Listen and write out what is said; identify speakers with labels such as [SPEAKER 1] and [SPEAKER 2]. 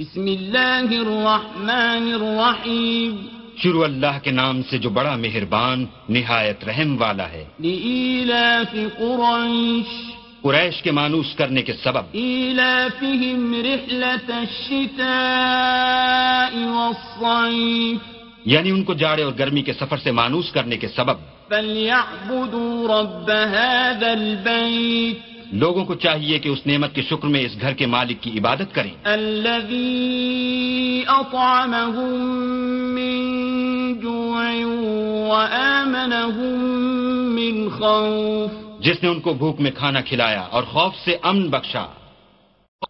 [SPEAKER 1] بسم الله الرحمن الرحيم
[SPEAKER 2] शुरू अल्लाह के नाम से जो बड़ा मेहरबान निहायत रहम वाला है
[SPEAKER 1] لإيلاف قريش
[SPEAKER 2] कुरैश के मानूस करने के सबब
[SPEAKER 1] إيلافهم رحلة الشتاء والصيف
[SPEAKER 2] यानी उनको जाड़े और गर्मी के सफर से मानूस करने के सबब
[SPEAKER 1] فليعبدوا رب هذا البيت
[SPEAKER 2] लोगों को चाहिए कि उस नेमत के शुक्र में इस घर के मालिक की इबादत करें
[SPEAKER 1] الذي أطعمهم من جوع وآمنهم من خوف
[SPEAKER 2] जिसने उनको भूख में खाना खिलाया और खौफ से अमन बख्शा